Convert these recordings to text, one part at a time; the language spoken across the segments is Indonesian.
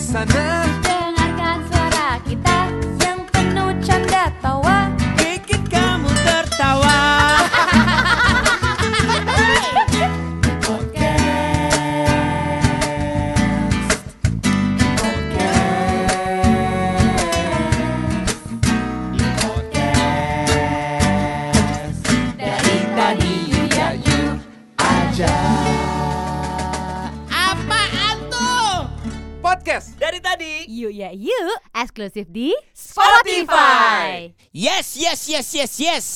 sana Dengarkan suara kita yang penuh canda tawa Bikin kamu tertawa dari tadi ya you Apaan tuh? Podcast dari tadi You ya you eksklusif di Spotify. Yes, yes, yes, yes, yes.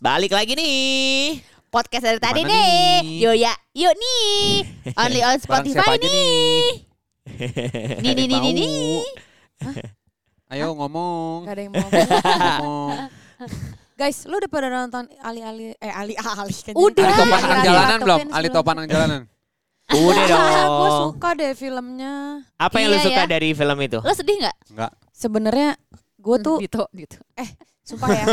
Balik lagi nih. Podcast dari tadi Mana nih. nih? You ya you nih. Only on Spotify siapa aja nih. Nih nih nih nih Tahu. nih. Ayo ngomong Gak ada yang mau ngomong. Ngomong Guys, lu udah pada nonton Ali-Ali eh Ali-Ali kan. Udah. Ali Ali Topan Ang Ali Jalanan belum? Topin Ali sebelum- Topan Ang Jalanan Udah Gue dong. Nah, suka deh filmnya. Apa yang lu Iya suka ya. dari film itu? Lo sedih nggak? Enggak Sebenarnya gue tuh gitu gitu. sumpah ya.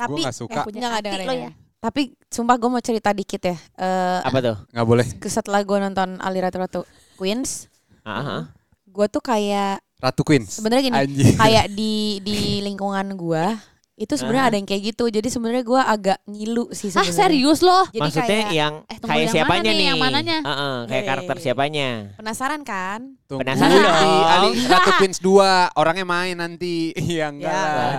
Tapi nggak suka. Eh, punya ada hati lo ya. Tapi sumpah gue mau cerita dikit ya. Eh Apa tuh? Enggak boleh ke- setelah gue nonton Ali Ratu-Ratu Queens, Aha. gue tuh kayak Ratu Queens sebenarnya gini, Anjir. kayak di di lingkungan gue Ah. itu sebenarnya ada yang kayak gitu. Jadi sebenarnya gue agak ngilu sih Ah sebenarnya. serius lo? Jadi Maksudnya iya. kayak yang eh, tunggu, kayak yang siapanya mana nih, nih? yang mananya? Heeh, kayak Iya, karakter iya, iya. siapanya? penasaran kan? Tunggu Penasaran di dong. Ali Ratu Queens 2 Orangnya main nanti Iya enggak Ya. lah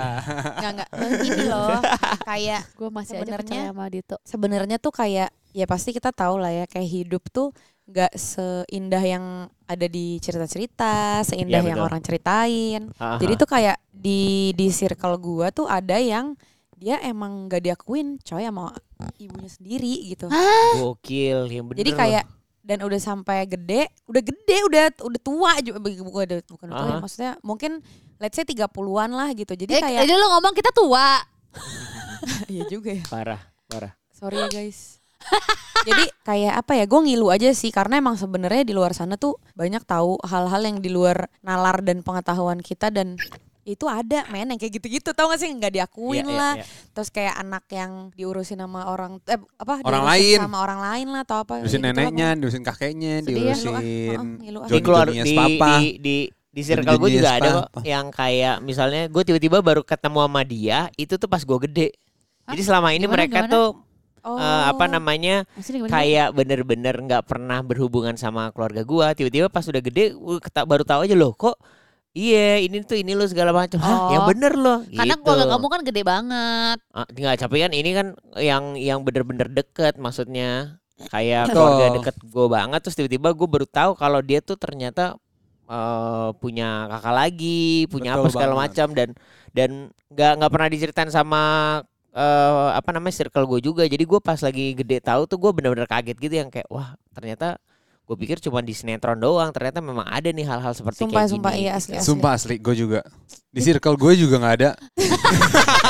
Enggak enggak. Ini Nah, loh kayak Gue masih aja Sebenarnya- percaya sama Dito. sebenarnya tuh kayak ya pasti kita tahu lah ya kayak hidup tuh nggak seindah yang ada di cerita-cerita, seindah Iya, yang betul. orang ceritain. Aha. Jadi tuh kayak di di circle gua tuh ada yang dia emang gak diakuin coy sama ibunya sendiri gitu. gokil yang bener. Jadi kayak dan udah sampai gede, udah gede, udah udah tua juga bukan udah- bukan udah tua ya, Aha. maksudnya mungkin let's say 30-an lah gitu. Jadi Eh, kayak jadi lo ngomong kita tua. iya juga ya. loh. parah, parah. Sorry ya guys. Jadi kayak apa ya? Gue ngilu aja sih karena emang sebenarnya di luar sana tuh banyak tahu hal-hal yang di luar nalar dan pengetahuan kita dan itu ada men yang kayak gitu-gitu tau gak sih nggak diakuin Iya, iya, lah iya. terus kayak anak yang diurusin sama orang eh, apa Orang diurusin lain. sama orang lain lah atau apa Diurusin gitu lah, neneknya, diurusin kakeknya, Sedih lu ya, ah. diurusin Heeh, ngilu ah. Di Johnny keluar Junius di, Papa. di di di circle gue juga Junius ada kok Papa. yang kayak misalnya gue tiba-tiba baru ketemu sama dia itu tuh pas gue gede. Jadi selama ini Gimana, mereka gimana? tuh pokoknya. oh. eh, apa namanya Maksudnya gimana? kayak bener-bener nggak pernah berhubungan sama keluarga gua tiba-tiba pas udah gede gua keta- baru tahu aja loh kok iya ini tuh ini lo segala macam Hah, Oh. ya bener loh Karena gitu. keluarga kamu kan gede banget. Ah, nggak tapi kan ini kan yang yang bener-bener deket maksudnya kayak Betul. keluarga deket gua banget terus tiba-tiba gua baru tahu kalau dia tuh ternyata eh, punya kakak lagi punya Betul apa segala banget. macam dan dan nggak nggak pernah diceritain sama eh, apa namanya circle gue juga jadi gua pas lagi gede tahu tuh gua bener-bener kaget gitu yang kayak wah ternyata gue pikir cuma di sinetron doang ternyata memang ada nih hal-hal seperti sumpah kayak sumpah gini iya asli asli Sumpah asli gue juga. Di circle gue juga nggak ada.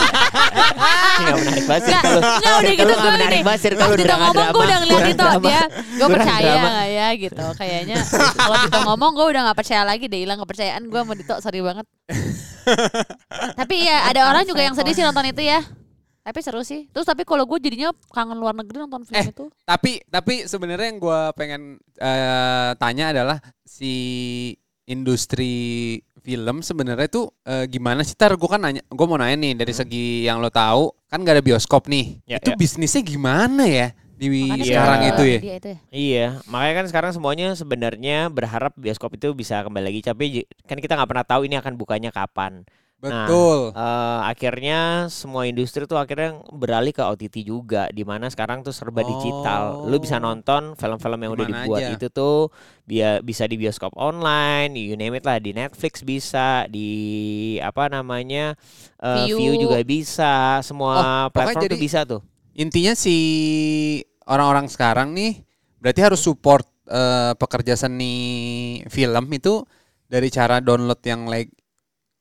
Nggak menarik banget Nggak, circle lu. nggak, udah Circle lu gitu nggak dulu menarik nih. banget circle Pas lu, Dito ngomong drama-drama. gue udah ngeliat Kurang Dito drama. ya Gue Kurang percaya drama. gak ya gitu Kayaknya kalau Dito ngomong gue udah gak percaya lagi deh Hilang kepercayaan gue sama Dito sorry banget Tapi ya ada orang juga yang sedih sih nonton itu ya Tapi seru sih Terus tapi kalau gue jadinya kangen luar negeri nonton film Eh. itu Tapi tapi sebenarnya yang gue pengen eh, tanya adalah si industri film sebenarnya tuh eh, gimana sih? Tar gue kan nanya, gue mau nanya nih dari segi yang lo tahu kan gak ada bioskop nih. Hmm. Ya, itu ya. bisnisnya gimana ya di Makanya sekarang kangen Iya. itu ya? dia itu Iya, makanya kan sekarang semuanya sebenarnya berharap bioskop itu bisa kembali lagi. Tapi j- kan kita nggak pernah tahu ini akan bukanya kapan. Betul. Eh, akhirnya semua industri tuh akhirnya beralih ke OTT juga, dimana sekarang tuh serba digital. Lu Oh. bisa nonton film-film yang udah Dimana dibuat aja. itu tuh bia- bisa di bioskop online, you name it lah, di Netflix bisa, di apa namanya eh, Viu. Viu juga bisa, Oh, semua pokoknya platform tuh jadi- bisa tuh. Intinya si orang-orang sekarang nih berarti harus support eh, pekerja seni film itu dari cara download yang leg-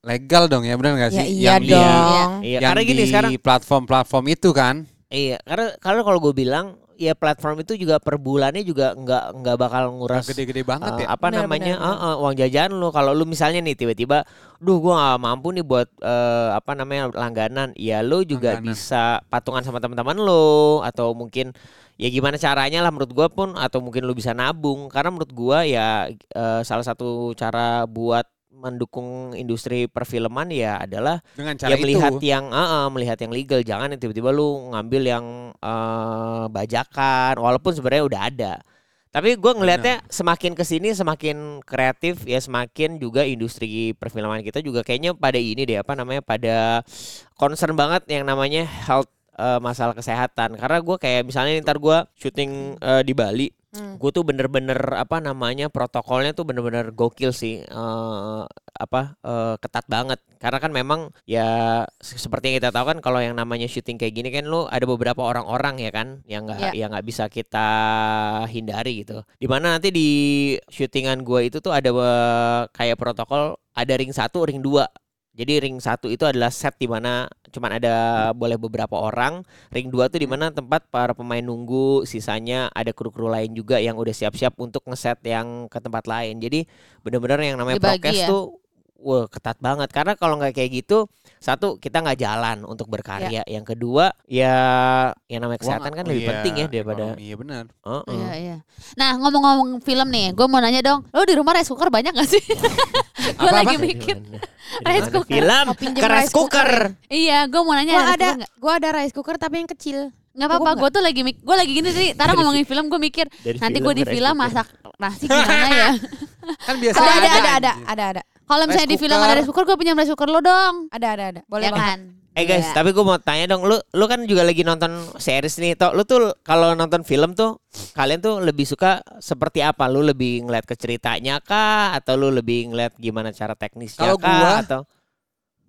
legal dong ya benar nggak ya sih? iya yang di- dong Iya, yang karena gini di sekarang platform-platform itu kan. Iya, karena karena kalau gue bilang ya platform itu juga per bulannya juga nggak nggak bakal nguras Gede-gede banget eh, ya. apa Benar, namanya benar, eh, eh, uang jajan lu kalau lu misalnya nih tiba-tiba duh gua gak mampu nih buat eh, apa namanya langganan ya lu juga Langganan. bisa patungan sama teman-teman lu atau mungkin ya gimana caranya lah menurut gua pun atau mungkin lu bisa nabung karena menurut gua ya eh, salah satu cara buat mendukung industri perfilman ya adalah Dengan cara ya melihat itu. yang eh, eh, melihat yang legal jangan yang tiba-tiba lu ngambil yang eh, bajakan walaupun sebenarnya udah ada tapi gue ngelihatnya semakin kesini semakin kreatif ya semakin juga industri perfilman kita juga kayaknya pada ini deh apa namanya pada concern banget yang namanya health eh, masalah kesehatan karena gue kayak misalnya ntar gue syuting eh, di Bali Hmm. gue tuh bener-bener apa namanya protokolnya tuh bener-bener gokil sih eh apa eh, ketat banget karena kan memang ya se- seperti yang kita tahu kan kalau yang namanya syuting kayak gini kan lo ada beberapa orang-orang ya kan yang nggak yang nggak bisa kita hindari gitu dimana nanti di syutingan gue itu tuh ada eh, kayak protokol ada ring satu ring dua jadi ring satu itu adalah set di mana cuman ada boleh beberapa orang Ring 2 tuh di mana tempat para pemain nunggu, sisanya ada kru-kru lain juga yang udah siap-siap untuk ngeset yang ke tempat lain. Jadi bener-bener yang namanya Dibagi prokes ya? tuh wah ketat banget karena kalau nggak kayak gitu satu kita nggak jalan untuk berkarya yang kedua ya yang namanya kesehatan kan lebih Iya, penting ya daripada ekonomi, Iya benar. Heeh. Iya, iya. Nah ngomong-ngomong film nih, gue mau nanya dong, lo di rumah rice cooker banyak gak sih? gue Apa-apa? lagi Dari mikir. mana? Dari Rice mana? cooker. film Mau pinjem ke rice rice cooker cooker Iya, gue mau nanya. Gua rice ada cooker nggak? gua ada rice cooker tapi yang kecil. Nggak apa-apa, Cukup gue tuh lagi mik- gue lagi gini sih. Tara Dari ngomongin film, gue mikir Dari film nanti gue di ke rice film cooker. masak nasi gimana ya. Kan gitu. biasa Ada ada ada ada ada ada Kalau misalnya Rice di film cooker. ada rice cooker, gue pinjam rice cooker lo dong. ada ada ada. Boleh ya banget. kan? Eh guys, Iya. tapi gue mau tanya dong, lu lu kan juga lagi nonton series nih, toh lu tuh kalau nonton film tuh kalian tuh lebih suka seperti apa? Lu lebih ngeliat ke ceritanya kah atau lu lebih ngeliat gimana cara teknisnya Kalau kah gua- atau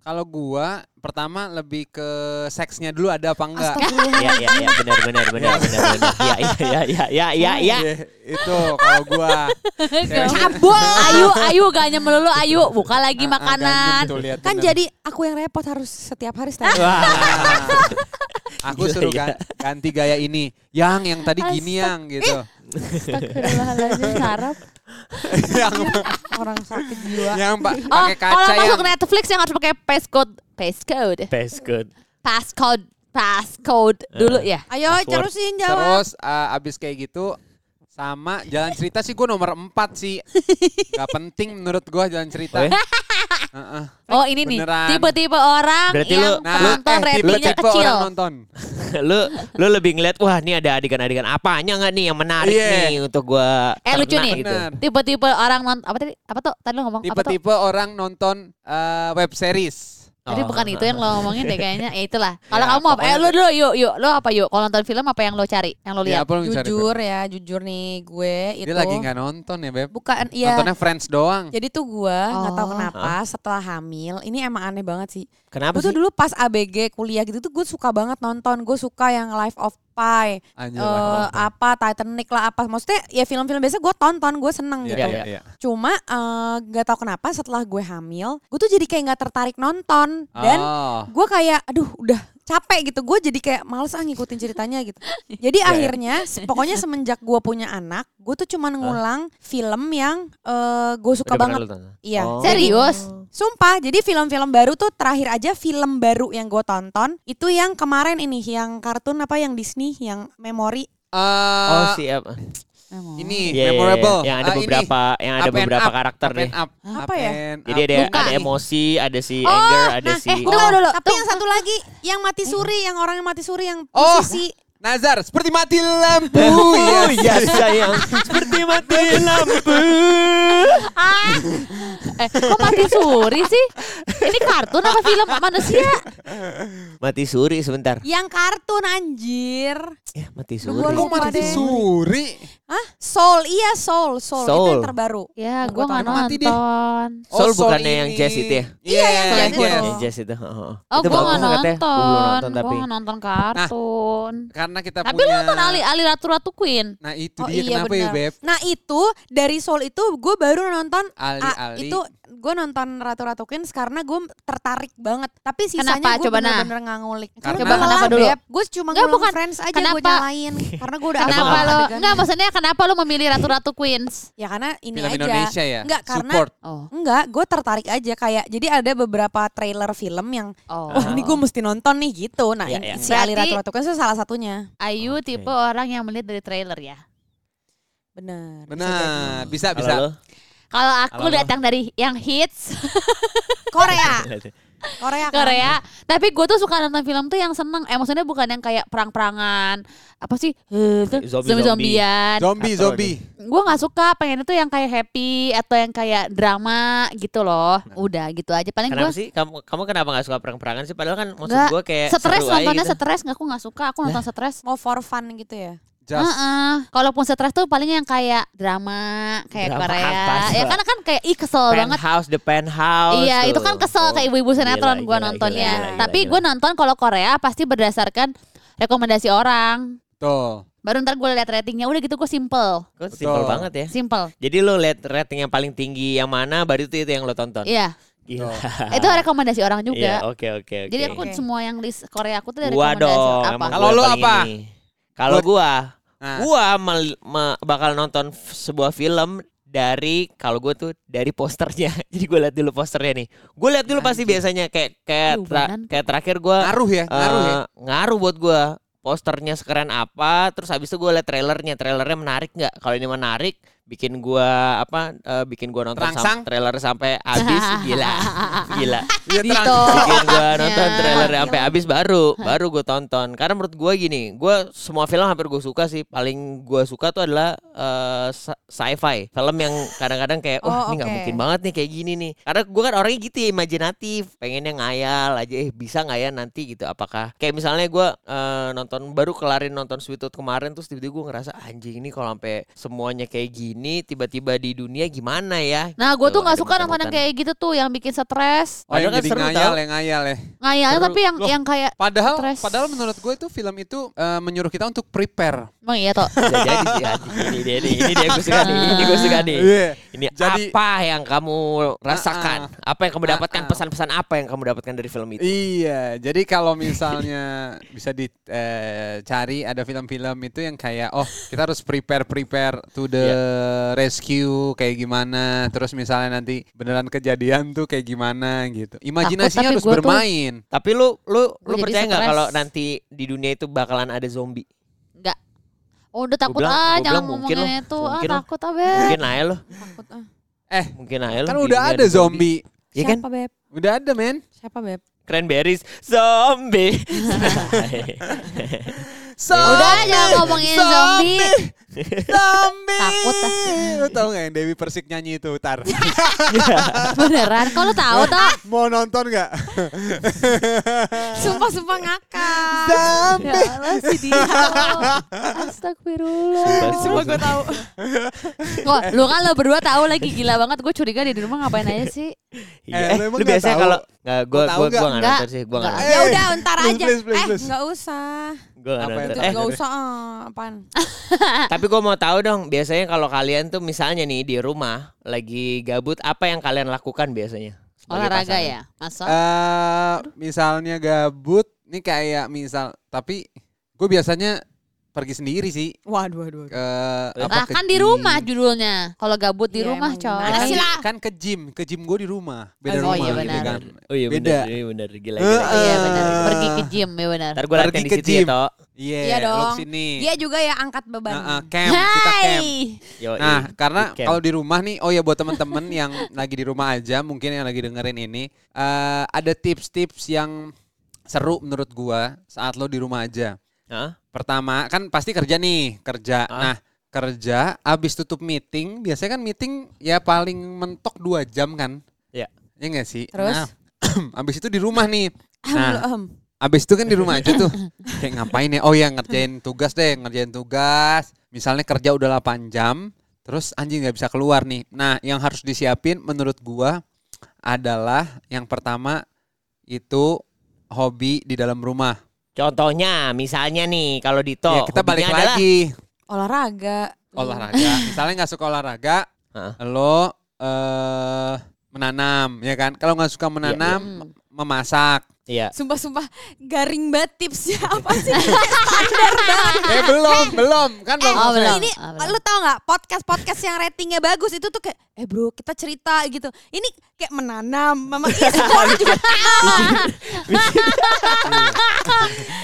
Kalau gua pertama lebih ke seksnya dulu ada apa enggak? Iya iya iya benar benar benar benar benar. Iya iya iya iya iya iya. Iya, itu kalau gua Cewek- Cabul, ayu, ayu gak hanya melulu ayu, buka Ah, ah, lagi ganjil makanan. tuh, lihat Kan bener. jadi aku yang repot harus setiap hari stand up. Wah. Ah, aku Gila, suruh ya. gan- ganti gaya ini. Yang yang tadi gini yang gitu. Astagfirullahaladzim Nah, sarap yang orang sakit jiwa. yang pa- Oh, pakai kalau kaca yang masuk Netflix yang harus pakai passcode, passcode, That's good. passcode, passcode Eh. dulu ya. Ayo Password. terusin jawab. terus eh, abis kayak gitu sama jalan cerita sih gua nomor 4 sih. Gak penting menurut gua jalan cerita. Oh ya? Heeh. Oh ini nih, Beneran. tipe-tipe orang Berarti yang lu- Nah, penonton eh, ratingnya tipe-tipe kecil. orang nonton. lu lu lebih ngeliat wah ini ada adegan-adegan apanya nggak nih yang menarik Iya. nih untuk gua Eh, lucu cerna nih. gitu. Oh, Benar. Tipe-tipe orang nonton apa tadi? Apa tuh? Tadi lo ngomong apa tuh? Tipe-tipe orang nonton eh, web series. Jadi Oh. bukan itu yang lo ngomongin deh kayaknya. Ya itulah. Kalau Ya, kamu apa? Eh pokoknya- lo dulu yuk yuk. Lo apa yuk? Kalau nonton film apa yang lo cari? Yang lo Ya, lihat? apa lu cari, Beb? Oh, Jujur ya, jujur nih gue itu. Dia lagi nggak nonton ya, Beb. Bukan iya. Nontonnya Friends doang. Jadi tuh gue nggak tahu Oh. kenapa setelah hamil ini emang aneh banget sih. Kenapa Gue tuh sih? dulu pas ABG kuliah gitu tuh gue suka banget nonton. Gue suka yang Life of Pi, Anjir. eh lah. apa Titanic lah apa. Maksudnya ya film-film biasa gue tonton gue seneng Iya, gitu. Iya, iya, iya. Cuma eh, nggak tahu kenapa setelah gue hamil, gue tuh jadi kayak nggak tertarik nonton dan Oh. gue kayak aduh udah capek gitu gue jadi kayak males ah ngikutin ceritanya gitu jadi Iya, akhirnya se- pokoknya semenjak gue punya anak gue tuh cuman ngulang film yang gue suka Udah pernah banget lu tonton? iya Oh. Serius? sumpah jadi film-film baru tuh terakhir aja film baru yang gue tonton itu yang kemarin ini yang kartun apa yang Disney yang memori Eh, Oh siap. ini Iya, iya, iya. memorable. Yang ada Eh, ini. beberapa yang ada Up and beberapa up, karakter up nih. and Up. Apa Up ya? and Jadi up. ada Luka ada nih. emosi, ada si Oh, anger, nah, ada si eh, Tunggu dulu, tapi tunggu. yang satu lagi yang mati suri yang orang yang mati suri yang Oh. musisi Nazar seperti mati lampu. Iya, Oh yes. ya sayang, seperti mati lampu. Ah. Eh kok mati suri sih? Ini kartun apa film manusia? Mati suri sebentar. yang kartun anjir Ya, mati Gua suri. Kok Oh, lupa mati deh. suri? Hah? Soul iya Soul Soul, itu Soul. yang terbaru Ya gue Gua nggak tahu. Mati dia. nonton. Oh, soul Soul bukannya yang ini. jazz itu ya? Iya, yang yang jazz jazz. itu. Yang jazz itu. heeh. Oh Itu gue bagus nggak katanya. nonton. Gua belum nonton Gue tapi. nggak nonton kartun. Karena kita Tapi lo Nah, punya nonton Ali Ali Ratu Ratu Queen. Nah, itu Oh dia iya kenapa ya, benar. Beb? Nah itu dari Soul itu gue baru nonton Ali ah, Ali. itu gue nonton Ratu Ratu Kings karena gue tertarik banget. Tapi sisanya Kenapa? gue Coba nah. bener-bener nggak ngulik. Karena- Coba kenapa dulu? Gue cuma Nggak, ngulang bukan. Friends aja gue Kenapa? nyalain. karena gue udah Kenapa hafal lo? adegannya. Enggak, maksudnya kenapa lo memilih ratu-ratu Queens? Ya karena ini Film aja. Indonesia ya. Enggak, karena- Support. Oh. Enggak, gue tertarik aja kayak jadi ada beberapa trailer film yang Oh. wah ini gue mesti nonton nih gitu. Nah, Ya, ini Iya, iya. si Ali Berarti- Ratu Ratu Kings itu salah satunya. Ayu Oh, Oke. tipe orang yang melihat dari trailer ya. Benar. bisa jadi. Benar, bisa Kalau bisa. lo? Kalau aku Kalau lo? datang dari yang hits Nah, Korea, Korea. kan? Korea, tapi gue tuh suka nonton film tuh yang seneng. Eh maksudnya bukan yang kayak perang-perangan, apa sih? eh, tuh, Zombie-zombie. Zombie-zombian. Zombie, Atau zombie. gue nggak suka pengen itu yang kayak happy atau yang kayak drama gitu loh udah gitu aja paling Kenapa gue sih kamu kamu kenapa nggak suka perang-perangan sih? Padahal kan maksud Nggak, gue kayak stres seru aja nontonnya gitu. Nah, stres nggak aku nggak suka aku nonton stres Mau for fun gitu ya. Just. Heeh. Kalaupun stres tuh palingnya yang kayak drama kayak Drama Korea apa sih, ya Mbak? karena kan kayak ih kesel banget Penthouse, the penthouse. Iya, tuh. itu kan kesel Oh, kayak ibu-ibu gila, sinetron gue gila, nontonnya. gila, gila, Tapi gila. gue nonton kalau Korea pasti berdasarkan rekomendasi orang. Tuh. Baru ntar gue lihat ratingnya. Udah gitu gue simple, Kok simpel Betul. banget ya. simple. Jadi lo lihat rating yang paling tinggi yang mana baru itu itu yang lo tonton. Iya, Gila. itu rekomendasi Ah. orang Iya, juga. oke oke oke. Jadi aku Oke. semua yang list Korea aku tuh dari Gua rekomendasi dong. apa? emang Kalau gua lo paling apa? ini. Kalau gua, Nah, Uh, gua mel- me- bakal nonton f- sebuah film dari kalau gue tuh dari posternya. Jadi gue lihat dulu posternya nih. Gue lihat dulu pasti biasanya kayak kayak Aduh, tra- banan. kayak terakhir gua ngaruh ya, ngaruh ya. eh, ngaruh buat gua posternya sekeren apa terus habis itu gua liat trailernya trailernya menarik nggak kalau ini menarik bikin gua apa eh, bikin gua nonton Terangsang. sam- trailer sampai habis gila gila Iya, terang. Dito. Gitu. bikin gua nonton Ya. trailer sampai habis baru baru gua tonton karena menurut gua gini gua semua film hampir gua suka sih paling gua suka tuh adalah eh, sci- sci-fi film yang kadang-kadang kayak Oh, wah ini nggak oke. mungkin banget nih kayak gini nih karena gua kan orangnya gitu ya imajinatif pengennya ngayal aja eh bisa nggak ya nanti gitu apakah kayak misalnya gua eh, nonton baru kelarin nonton Sweet Tooth kemarin terus tiba-tiba gua ngerasa anjing ini kalau sampai semuanya kayak gini tiba-tiba di dunia gimana ya Nah gue tuh Tuh, nggak ada suka nonton yang mutan-mutan. kayak gitu tuh yang bikin stres. Oh, yang Padahal kan jadi seru ngayal, tau. ya, ngayal ya. Ngayal Seru. tapi yang Loh. yang kayak Padahal, Stres. padahal menurut gue itu film itu eh, menyuruh kita untuk prepare. emang iya toh. Bisa jadi sih anjing. ini dia nih ini dia gue suka nih ini gue suka nih Iya. Ini Jadi- apa yang kamu rasakan? Apa yang kamu dapatkan? Ah, ah. Pesan-pesan apa yang kamu dapatkan dari film itu? Gitu. Iya, jadi kalau misalnya bisa dicari ada film-film itu yang kayak oh kita harus prepare prepare to the Iya. rescue kayak gimana, terus misalnya nanti beneran kejadian tuh kayak gimana gitu. Imajinasinya tapi harus gua tuh- bermain. Tapi lu lu Gua lu jadi percaya nggak stres. kalau nanti di dunia itu bakalan ada zombie? Enggak. Oh, udah takut bilang- ah gua jangan bilang mungkin ngomongin loh, itu. Ah mungkin loh. takut ah Beb. Mungkin aja lo, Takut ah. Eh, mungkin aja lo. kan di udah dunia ada zombie. Iya kan? Siapa beb? Udah ada, men. Siapa beb? Cranberries zombie. Udah jangan ngomongin zombie. Zombie. Takut ah. Lu tau gak yang Dewi Persik nyanyi itu utar? Beneran kok lu tahu tak? Mau nonton gak? Sumpah sumpah ngakak. Ya Allah si dia. Astagfirullah. Semua Iya. gue tahu. Kok lu kan lo berdua tahu lagi gila banget. Gue curiga di rumah ngapain aja sih? Iya. Eh, lu Eh, emang lu nggak biasanya tahu? kalau nggak gua Lu tahu gua gua nggak? nggak Nggak. nonton sih, gua nggak Nggak. Eh, Ya udah ntar please, aja. please, please, eh please. nggak usah. nonton. Gua nggak Apa nonton. itu? Eh, Nggak usah. ah, Apaan? Tapi gue mau tahu dong, biasanya kalau kalian tuh misalnya nih di rumah lagi gabut, apa yang kalian lakukan biasanya? sebagai Olahraga pasangan? ya. Masa? eh misalnya gabut, nih kayak misal, tapi gue biasanya pergi sendiri sih Waduh waduh. waduh. ke apa? Ah ke kan di gym. rumah judulnya. Kalau gabut di Iya, rumah emang coy. Ya kan, Kasih lah. kan ke gym, ke gym gue di rumah, beda rumah Oh, iya gitu benar. kan. Oh iya Beda. benar, iya benar gila Eh, gila. eh. Iya benar. Pergi ke gym ya benar. Ntar gue latihan Pergi di ke situ gym. ya, Tok. Iya, Iya lo dong. kesini. Dia juga ya angkat beban. Nah, ah, camp, kita camp. Yoi. Nah, karena Camp. kalau di rumah nih, oh ya buat temen-temen yang lagi di rumah aja, mungkin yang lagi dengerin ini, eh ada tips-tips yang seru menurut gua saat lo di rumah aja. Hah? Pertama, kan pasti kerja nih, kerja. Ah. Nah, kerja abis tutup meeting, biasanya kan meeting ya paling mentok dua jam kan? Iya. Ya enggak sih? Terus? Ah, Nah, abis itu di rumah nih. Ahem, Nah, lo, ahem. Abis itu kan di rumah aja tuh. Kayak ngapain ya? Oh ya ngerjain tugas deh, ngerjain tugas. Misalnya kerja udah 8 jam, terus anjing nggak bisa keluar nih. Nah, yang harus disiapin menurut gua adalah yang pertama itu hobi di dalam rumah. Contohnya, misalnya nih kalau di ya, Tok, kita balik hobinya adalah- lagi Olahraga. olahraga. Misalnya nggak suka olahraga, Heeh. lo eh menanam ya kan kalau nggak suka menanam iya. mem- memasak Iya. Sumpah-sumpah garing banget tipsnya apa sih? eh belum belum kan belum Oh, Nah, belum. Ini Ah, belum. lu tau nggak podcast-podcast yang ratingnya bagus itu tuh kayak eh bro kita cerita gitu. Ini kayak menanam. Mama iya semua orang juga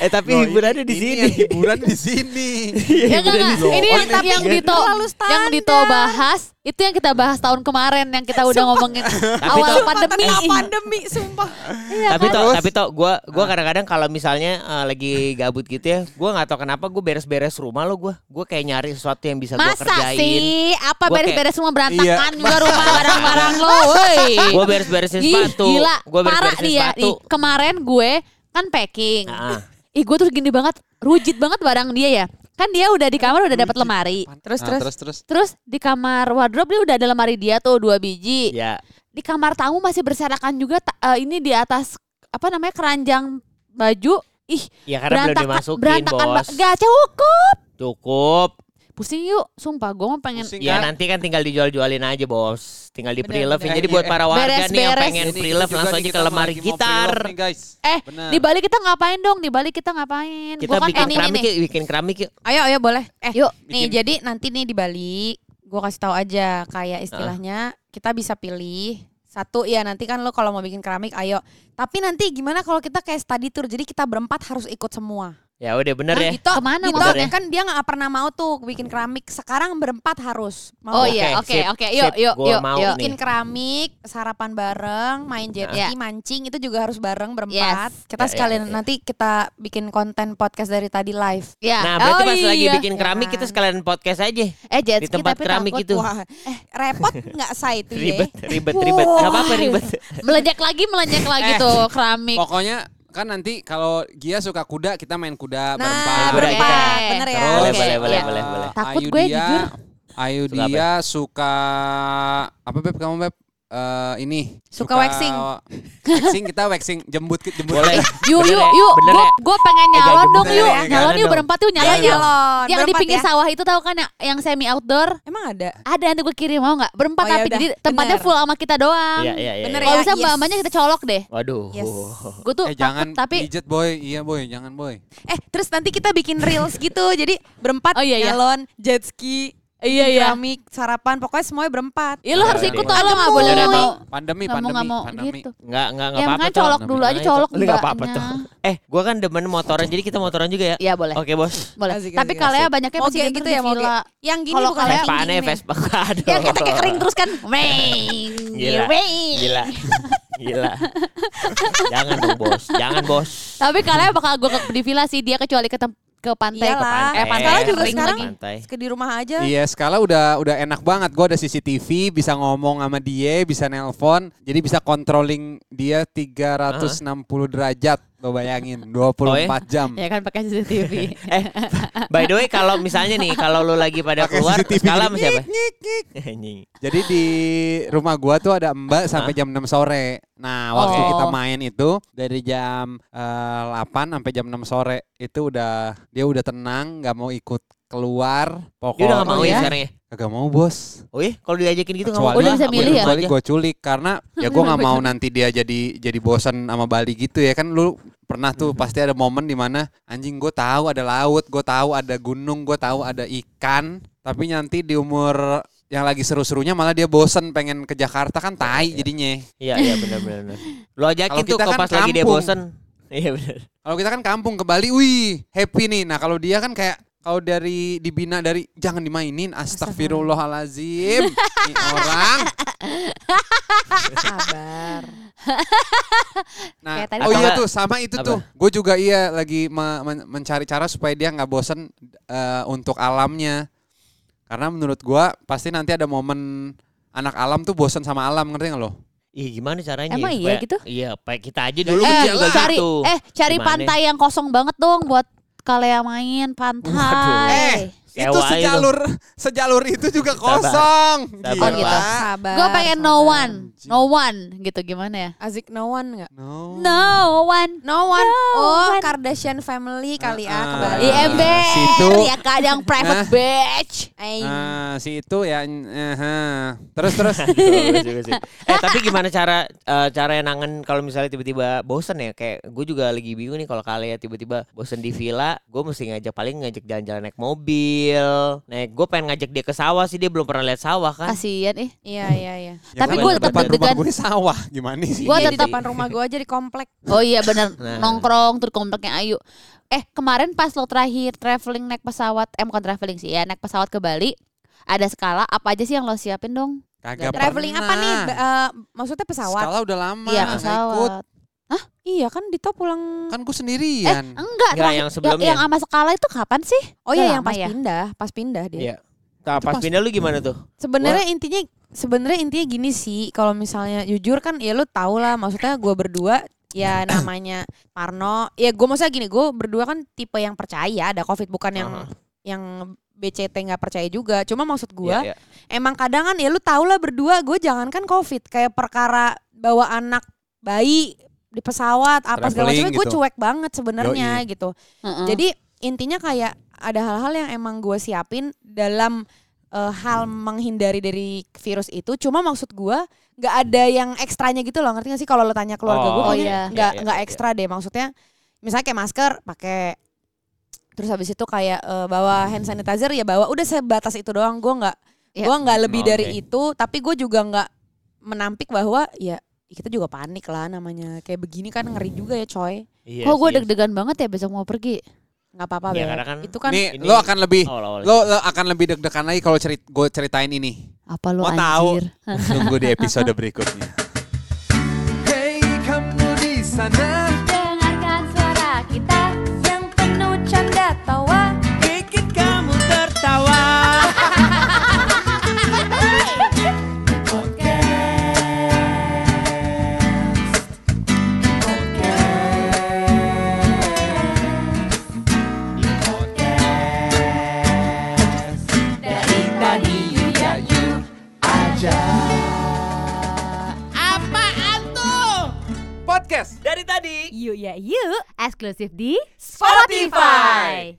Eh tapi Loh, hiburannya di ini sini. yang hiburan di sini Ya Iya, hiburan di Iya. enggak, enggak. sini. Ini yang, Tapi yang Dito terlalu yang standar. Dito bahas itu yang kita bahas tahun kemarin yang kita udah ngomongin awal Tapi- pandemi. Tengah pandemi sumpah. Nah, Iya, tapi toh tapi toh gua Ah. gua kadang-kadang kalau misalnya eh, lagi gabut gitu ya gua nggak tahu kenapa gue beres-beres rumah lo gua gua kayak nyari sesuatu yang bisa gua Masa kerjain sih apa Gua beres-beres semua Iya. berantakan juga rumah barang-barang lo, woi. gue beres-beresin Ih, sepatu Gila, gue parah beres-beresin nih ya. sepatu Ih, kemarin gue kan packing. Nah, Ih, gue tuh gini banget, rujit banget barang dia ya. Kan dia udah di kamar udah dapat lemari. Terus, Nah, terus. terus terus Terus di kamar wardrobe dia udah ada lemari dia tuh dua biji. ya Di kamar tamu masih berserakan juga ta- eh, ini di atas apa namanya keranjang baju. Ih, ya karena belum berantakan, dimasukin berantakan bos ba- gak cukup. cukup Pusing yuk, sumpah gue mau pengen Pusing, ya kan? nanti kan tinggal dijual-jualin aja bos tinggal di Bener, pre love bener. jadi buat para warga nih yang Beres-beres. pengen Ini pre juga love nih langsung aja kita ke lemari lagi mau gitar pre-love nih, guys. Eh, Benar. di Bali kita ngapain dong? Di Bali kita ngapain? kita Gua kan bikin ending keramik ini. yuk bikin keramik yuk Ayo ayo boleh. Eh Yuk. nih jadi nanti nih di Bali gue kasih tahu aja kayak istilahnya kita bisa pilih satu ya nanti kan lo kalau mau bikin keramik ayo tapi nanti gimana kalau kita kayak study tour jadi kita berempat harus ikut semua Kan ya udah bener ya Dito, Kemana Dito maksudnya? kan dia nggak pernah mau tuh bikin keramik sekarang berempat harus mau Oh iya, Oke, oke, sip, oke. Yuk, sip. yuk, Gua yuk, mau yuk. nih. bikin keramik sarapan bareng main jet ski mancing itu juga harus bareng berempat Iya. Yes. kita Ya, ya, sekalian ya. nanti kita bikin konten podcast dari tadi live Ya. nah berarti Oh pas lagi iya. bikin keramik kita sekalian podcast aja eh jet di ski tempat tapi keramik takut itu. wah Eh, repot nggak say itu ya ribet ribet ribet nggak apa-apa ribet Melejak lagi, melejak lagi Eh. tuh keramik. pokoknya kan nanti kalau Gia suka kuda kita main kuda Nah, berempat berempat. berempat. Bener ya. Terus, boleh Oke, boleh boleh iya. boleh boleh Eh, Takut Ayu gue, Dia- jujur. Ayu Suka apa? dia suka apa beb kamu beb? Eh, ini Suka waxing. waxing kita waxing jembut jembut Eh, Boleh. Eh, Yuk, Bener yuk, ya? yuk. Bener Gue ya? gue pengen Eh, jangan nyalon dong bener yuk. ya, Nyalon jangan yuk dong. berempat yuk Ayo nyalon yuk. nyalon. Yang di berempat pinggir ya. sawah itu tahu kan yang- yang semi outdoor Emang ada? ada nanti gue kirim mau nggak berempat Oh, ya tapi udah. jadi tempatnya Bener. full sama kita doang. Iya, iya, iya. Bener iya. Kalau ya, bisa yes. mbak-mbaknya kita colok deh. Waduh. Ya, Yes. Gue tuh eh takut jangan tapi pijet boy iya boy jangan boy Eh, terus nanti kita bikin reels gitu. Jadi berempat Oh, iya, iya. nyalon, jet ski, Iya, iya. keramik, sarapan, pokoknya semuanya berempat. Ya lu harus Iya, ikut iya. tolong nggak boleh Iya, nggak mau. pandemi Nggak mau pandemi nggak mau pandemi gitu. Enggak, enggak, enggak Ya apa-apa. makanya Col. colok dulu aja colok Lu nggak apa-apa mbaknya. tuh. Eh, gua kan demen motoran jadi kita motoran juga ya. Iya boleh. Oke, Bos. Boleh. Asik, Tapi asik, kalau ya asik. banyaknya Moge masih gitu gitu ya, ya moge. villa. Yang gini Kalau bukan kayak yang Vespa aneh, gini, men. Vespa aduh. Ya kita kayak kering terus kan. Weng. Gila. weng. Gila. Gila. Jangan dong, Bos. Jangan, Bos. Tapi kalau ya bakal gue ke di villa sih dia kecuali ke tem- ke pantai. Iyalah. Eh, pantai Sekarang juga kering sekarang lagi. Pantai. ke di rumah aja. Iya, skala udah udah enak banget. Gua ada CCTV, bisa ngomong sama dia, bisa nelpon. Jadi bisa controlling dia 360 derajat. Lo bayangin, 24 jam. Ya kan pakai CCTV. Eh, by the way kalau misalnya nih kalau lu lagi pada Pakai keluar, CCTV skala sama gini, siapa? Eh, ngik, ngik. Anjing. Jadi di rumah gua tuh ada Mbak sampai jam 6 sore. Nah, waktu Oh. kita main itu dari jam eh, 8 sampai jam 6 sore itu udah dia udah tenang, nggak mau ikut keluar. Dia udah Pokoknya nggak mau ya sekarang ya? Kagak mau, Bos. Oh iya, kalau diajakin gitu nggak mau. kecuali Udah bisa Gua milih ya? ikut kecuali aja. gue culik karena ya gue nggak mau nanti dia jadi jadi bosan sama Bali gitu ya kan lu pernah tuh pasti ada momen dimana anjing gue tahu ada laut gue tahu ada gunung gue tahu ada ikan tapi nanti di umur yang lagi seru-serunya malah dia bosen pengen ke Jakarta kan tai jadinya Iya, iya benar benar. benar. Lu ajakin Kalau tuh kita kalau kan pas lagi dia kampung. bosen. Iya benar. kalau kita kan kampung ke Bali wih happy nih nah kalau dia kan kayak kalau dari dibina dari jangan dimainin astagfirullahalazim ini orang Sabar. Nah, Kayak tadi oh Atau iya enggak- tuh sama itu apa? tuh. Gue juga iya lagi me- men- mencari cara supaya dia nggak bosen eh, untuk alamnya. Karena menurut gua pasti nanti ada momen anak alam tuh bosen sama alam ngerti nggak lo? Ih, gimana caranya? ya? Emang iya Supaya- gitu? Iya, kayak kita aja Ya, dulu lu eh, kecil lah. cari eh cari Gimana? pantai yang kosong banget dong buat kalian main pantai. Waduh. Eh, itu Sewa itu. sejalur sejalur itu juga kosong. Sabar. Gila. Oh, gitu. Sabar. Gue pengen no sabar. one, no one gitu gimana ya? Azik no one nggak? No. No one. No one. No oh, one. Kardashian family Ah, kali ya ah. kembali. Iya. IMB situ. ya kadang private Eh, Nah. batch. Aing. Ah, si itu ya. eh, eh. Terus terus. Bagus juga sih. eh tapi gimana cara eh, cara yang nangan kalau misalnya tiba-tiba bosen ya kayak gue juga lagi bingung nih kalau kalian tiba-tiba bosen di villa gue mesti ngajak paling ngajak jalan-jalan naik mobil naik gue pengen ngajak dia ke sawah sih dia belum pernah lihat sawah kan Kasian ih. Iya iya iya. Ya, kan Tapi gua di tetep depan rumah deg-degan. gue sawah gimana sih? Gua Iya, di tetap- depan rumah gue aja di komplek. Oh iya bener Nah. nongkrong tuh di kompleknya Ayu. Eh kemarin pas lo terakhir traveling naik pesawat, eh bukan traveling sih ya naik pesawat ke Bali. Ada skala apa aja sih yang lo siapin dong? Kagak Traveling apa nih? pernah. Ba- eh, maksudnya pesawat. Skala udah lama. Iya nggak ikut. pesawat. Iya kan Dito pulang. Kan gue Eh sendirian. enggak, Enggak, terakhir- yang sebelumnya. Yang sama skala itu kapan sih? Oh iya udah yang lama pas ya? pindah, pas pindah dia. Iya. Nah, Itu pas pas- pindah lu gimana tuh Sebenarnya intinya sebenarnya intinya gini sih, kalau misalnya jujur kan ya lu tau lah maksudnya gue berdua ya namanya Parno. Ya gue maksudnya gini, gue berdua kan tipe yang percaya ada Covid bukan yang Aha. yang BCT nggak percaya juga. Cuma maksud gue Iya, iya. emang kadang kan ya lu tau lah berdua gue jangankan covid kayak perkara bawa anak bayi di pesawat apa segala Traveling macam gue gitu. cuek banget sebenarnya gitu Heeh. jadi intinya kayak ada hal-hal yang emang gue siapin dalam eh, hal Hmm. menghindari dari virus itu cuma maksud gue nggak ada yang ekstranya gitu loh ngerti gak sih kalau lo tanya keluarga gue Oh, kayaknya iya. nggak Iya, iya, nggak iya. ekstra deh maksudnya misalnya kayak masker pakai terus habis itu kayak eh, bawa hand sanitizer ya bawa udah sebatas itu doang gue nggak Iya. gue nggak lebih Oh, Oke. dari itu tapi gue juga nggak menampik bahwa ya kita juga panik lah namanya kayak begini kan ngeri juga ya coy Iya Kok gue sih. deg-degan banget ya besok mau pergi. nggak apa-apa Iya, Beb. karena kan itu kan nih ini- lo akan lebih Awal-awal. lo, lo akan lebih deg-degan lagi kalau cerit gue ceritain ini. Apa lo Mau tahu? anjir? Tunggu di episode berikutnya. Hey kamu di sana Dengarkan suara kita yang penuh canda tawa. bikin kamu tertawa Dari tadi ya you podcast. dari tadi You ya you. Eksklusif di Spotify.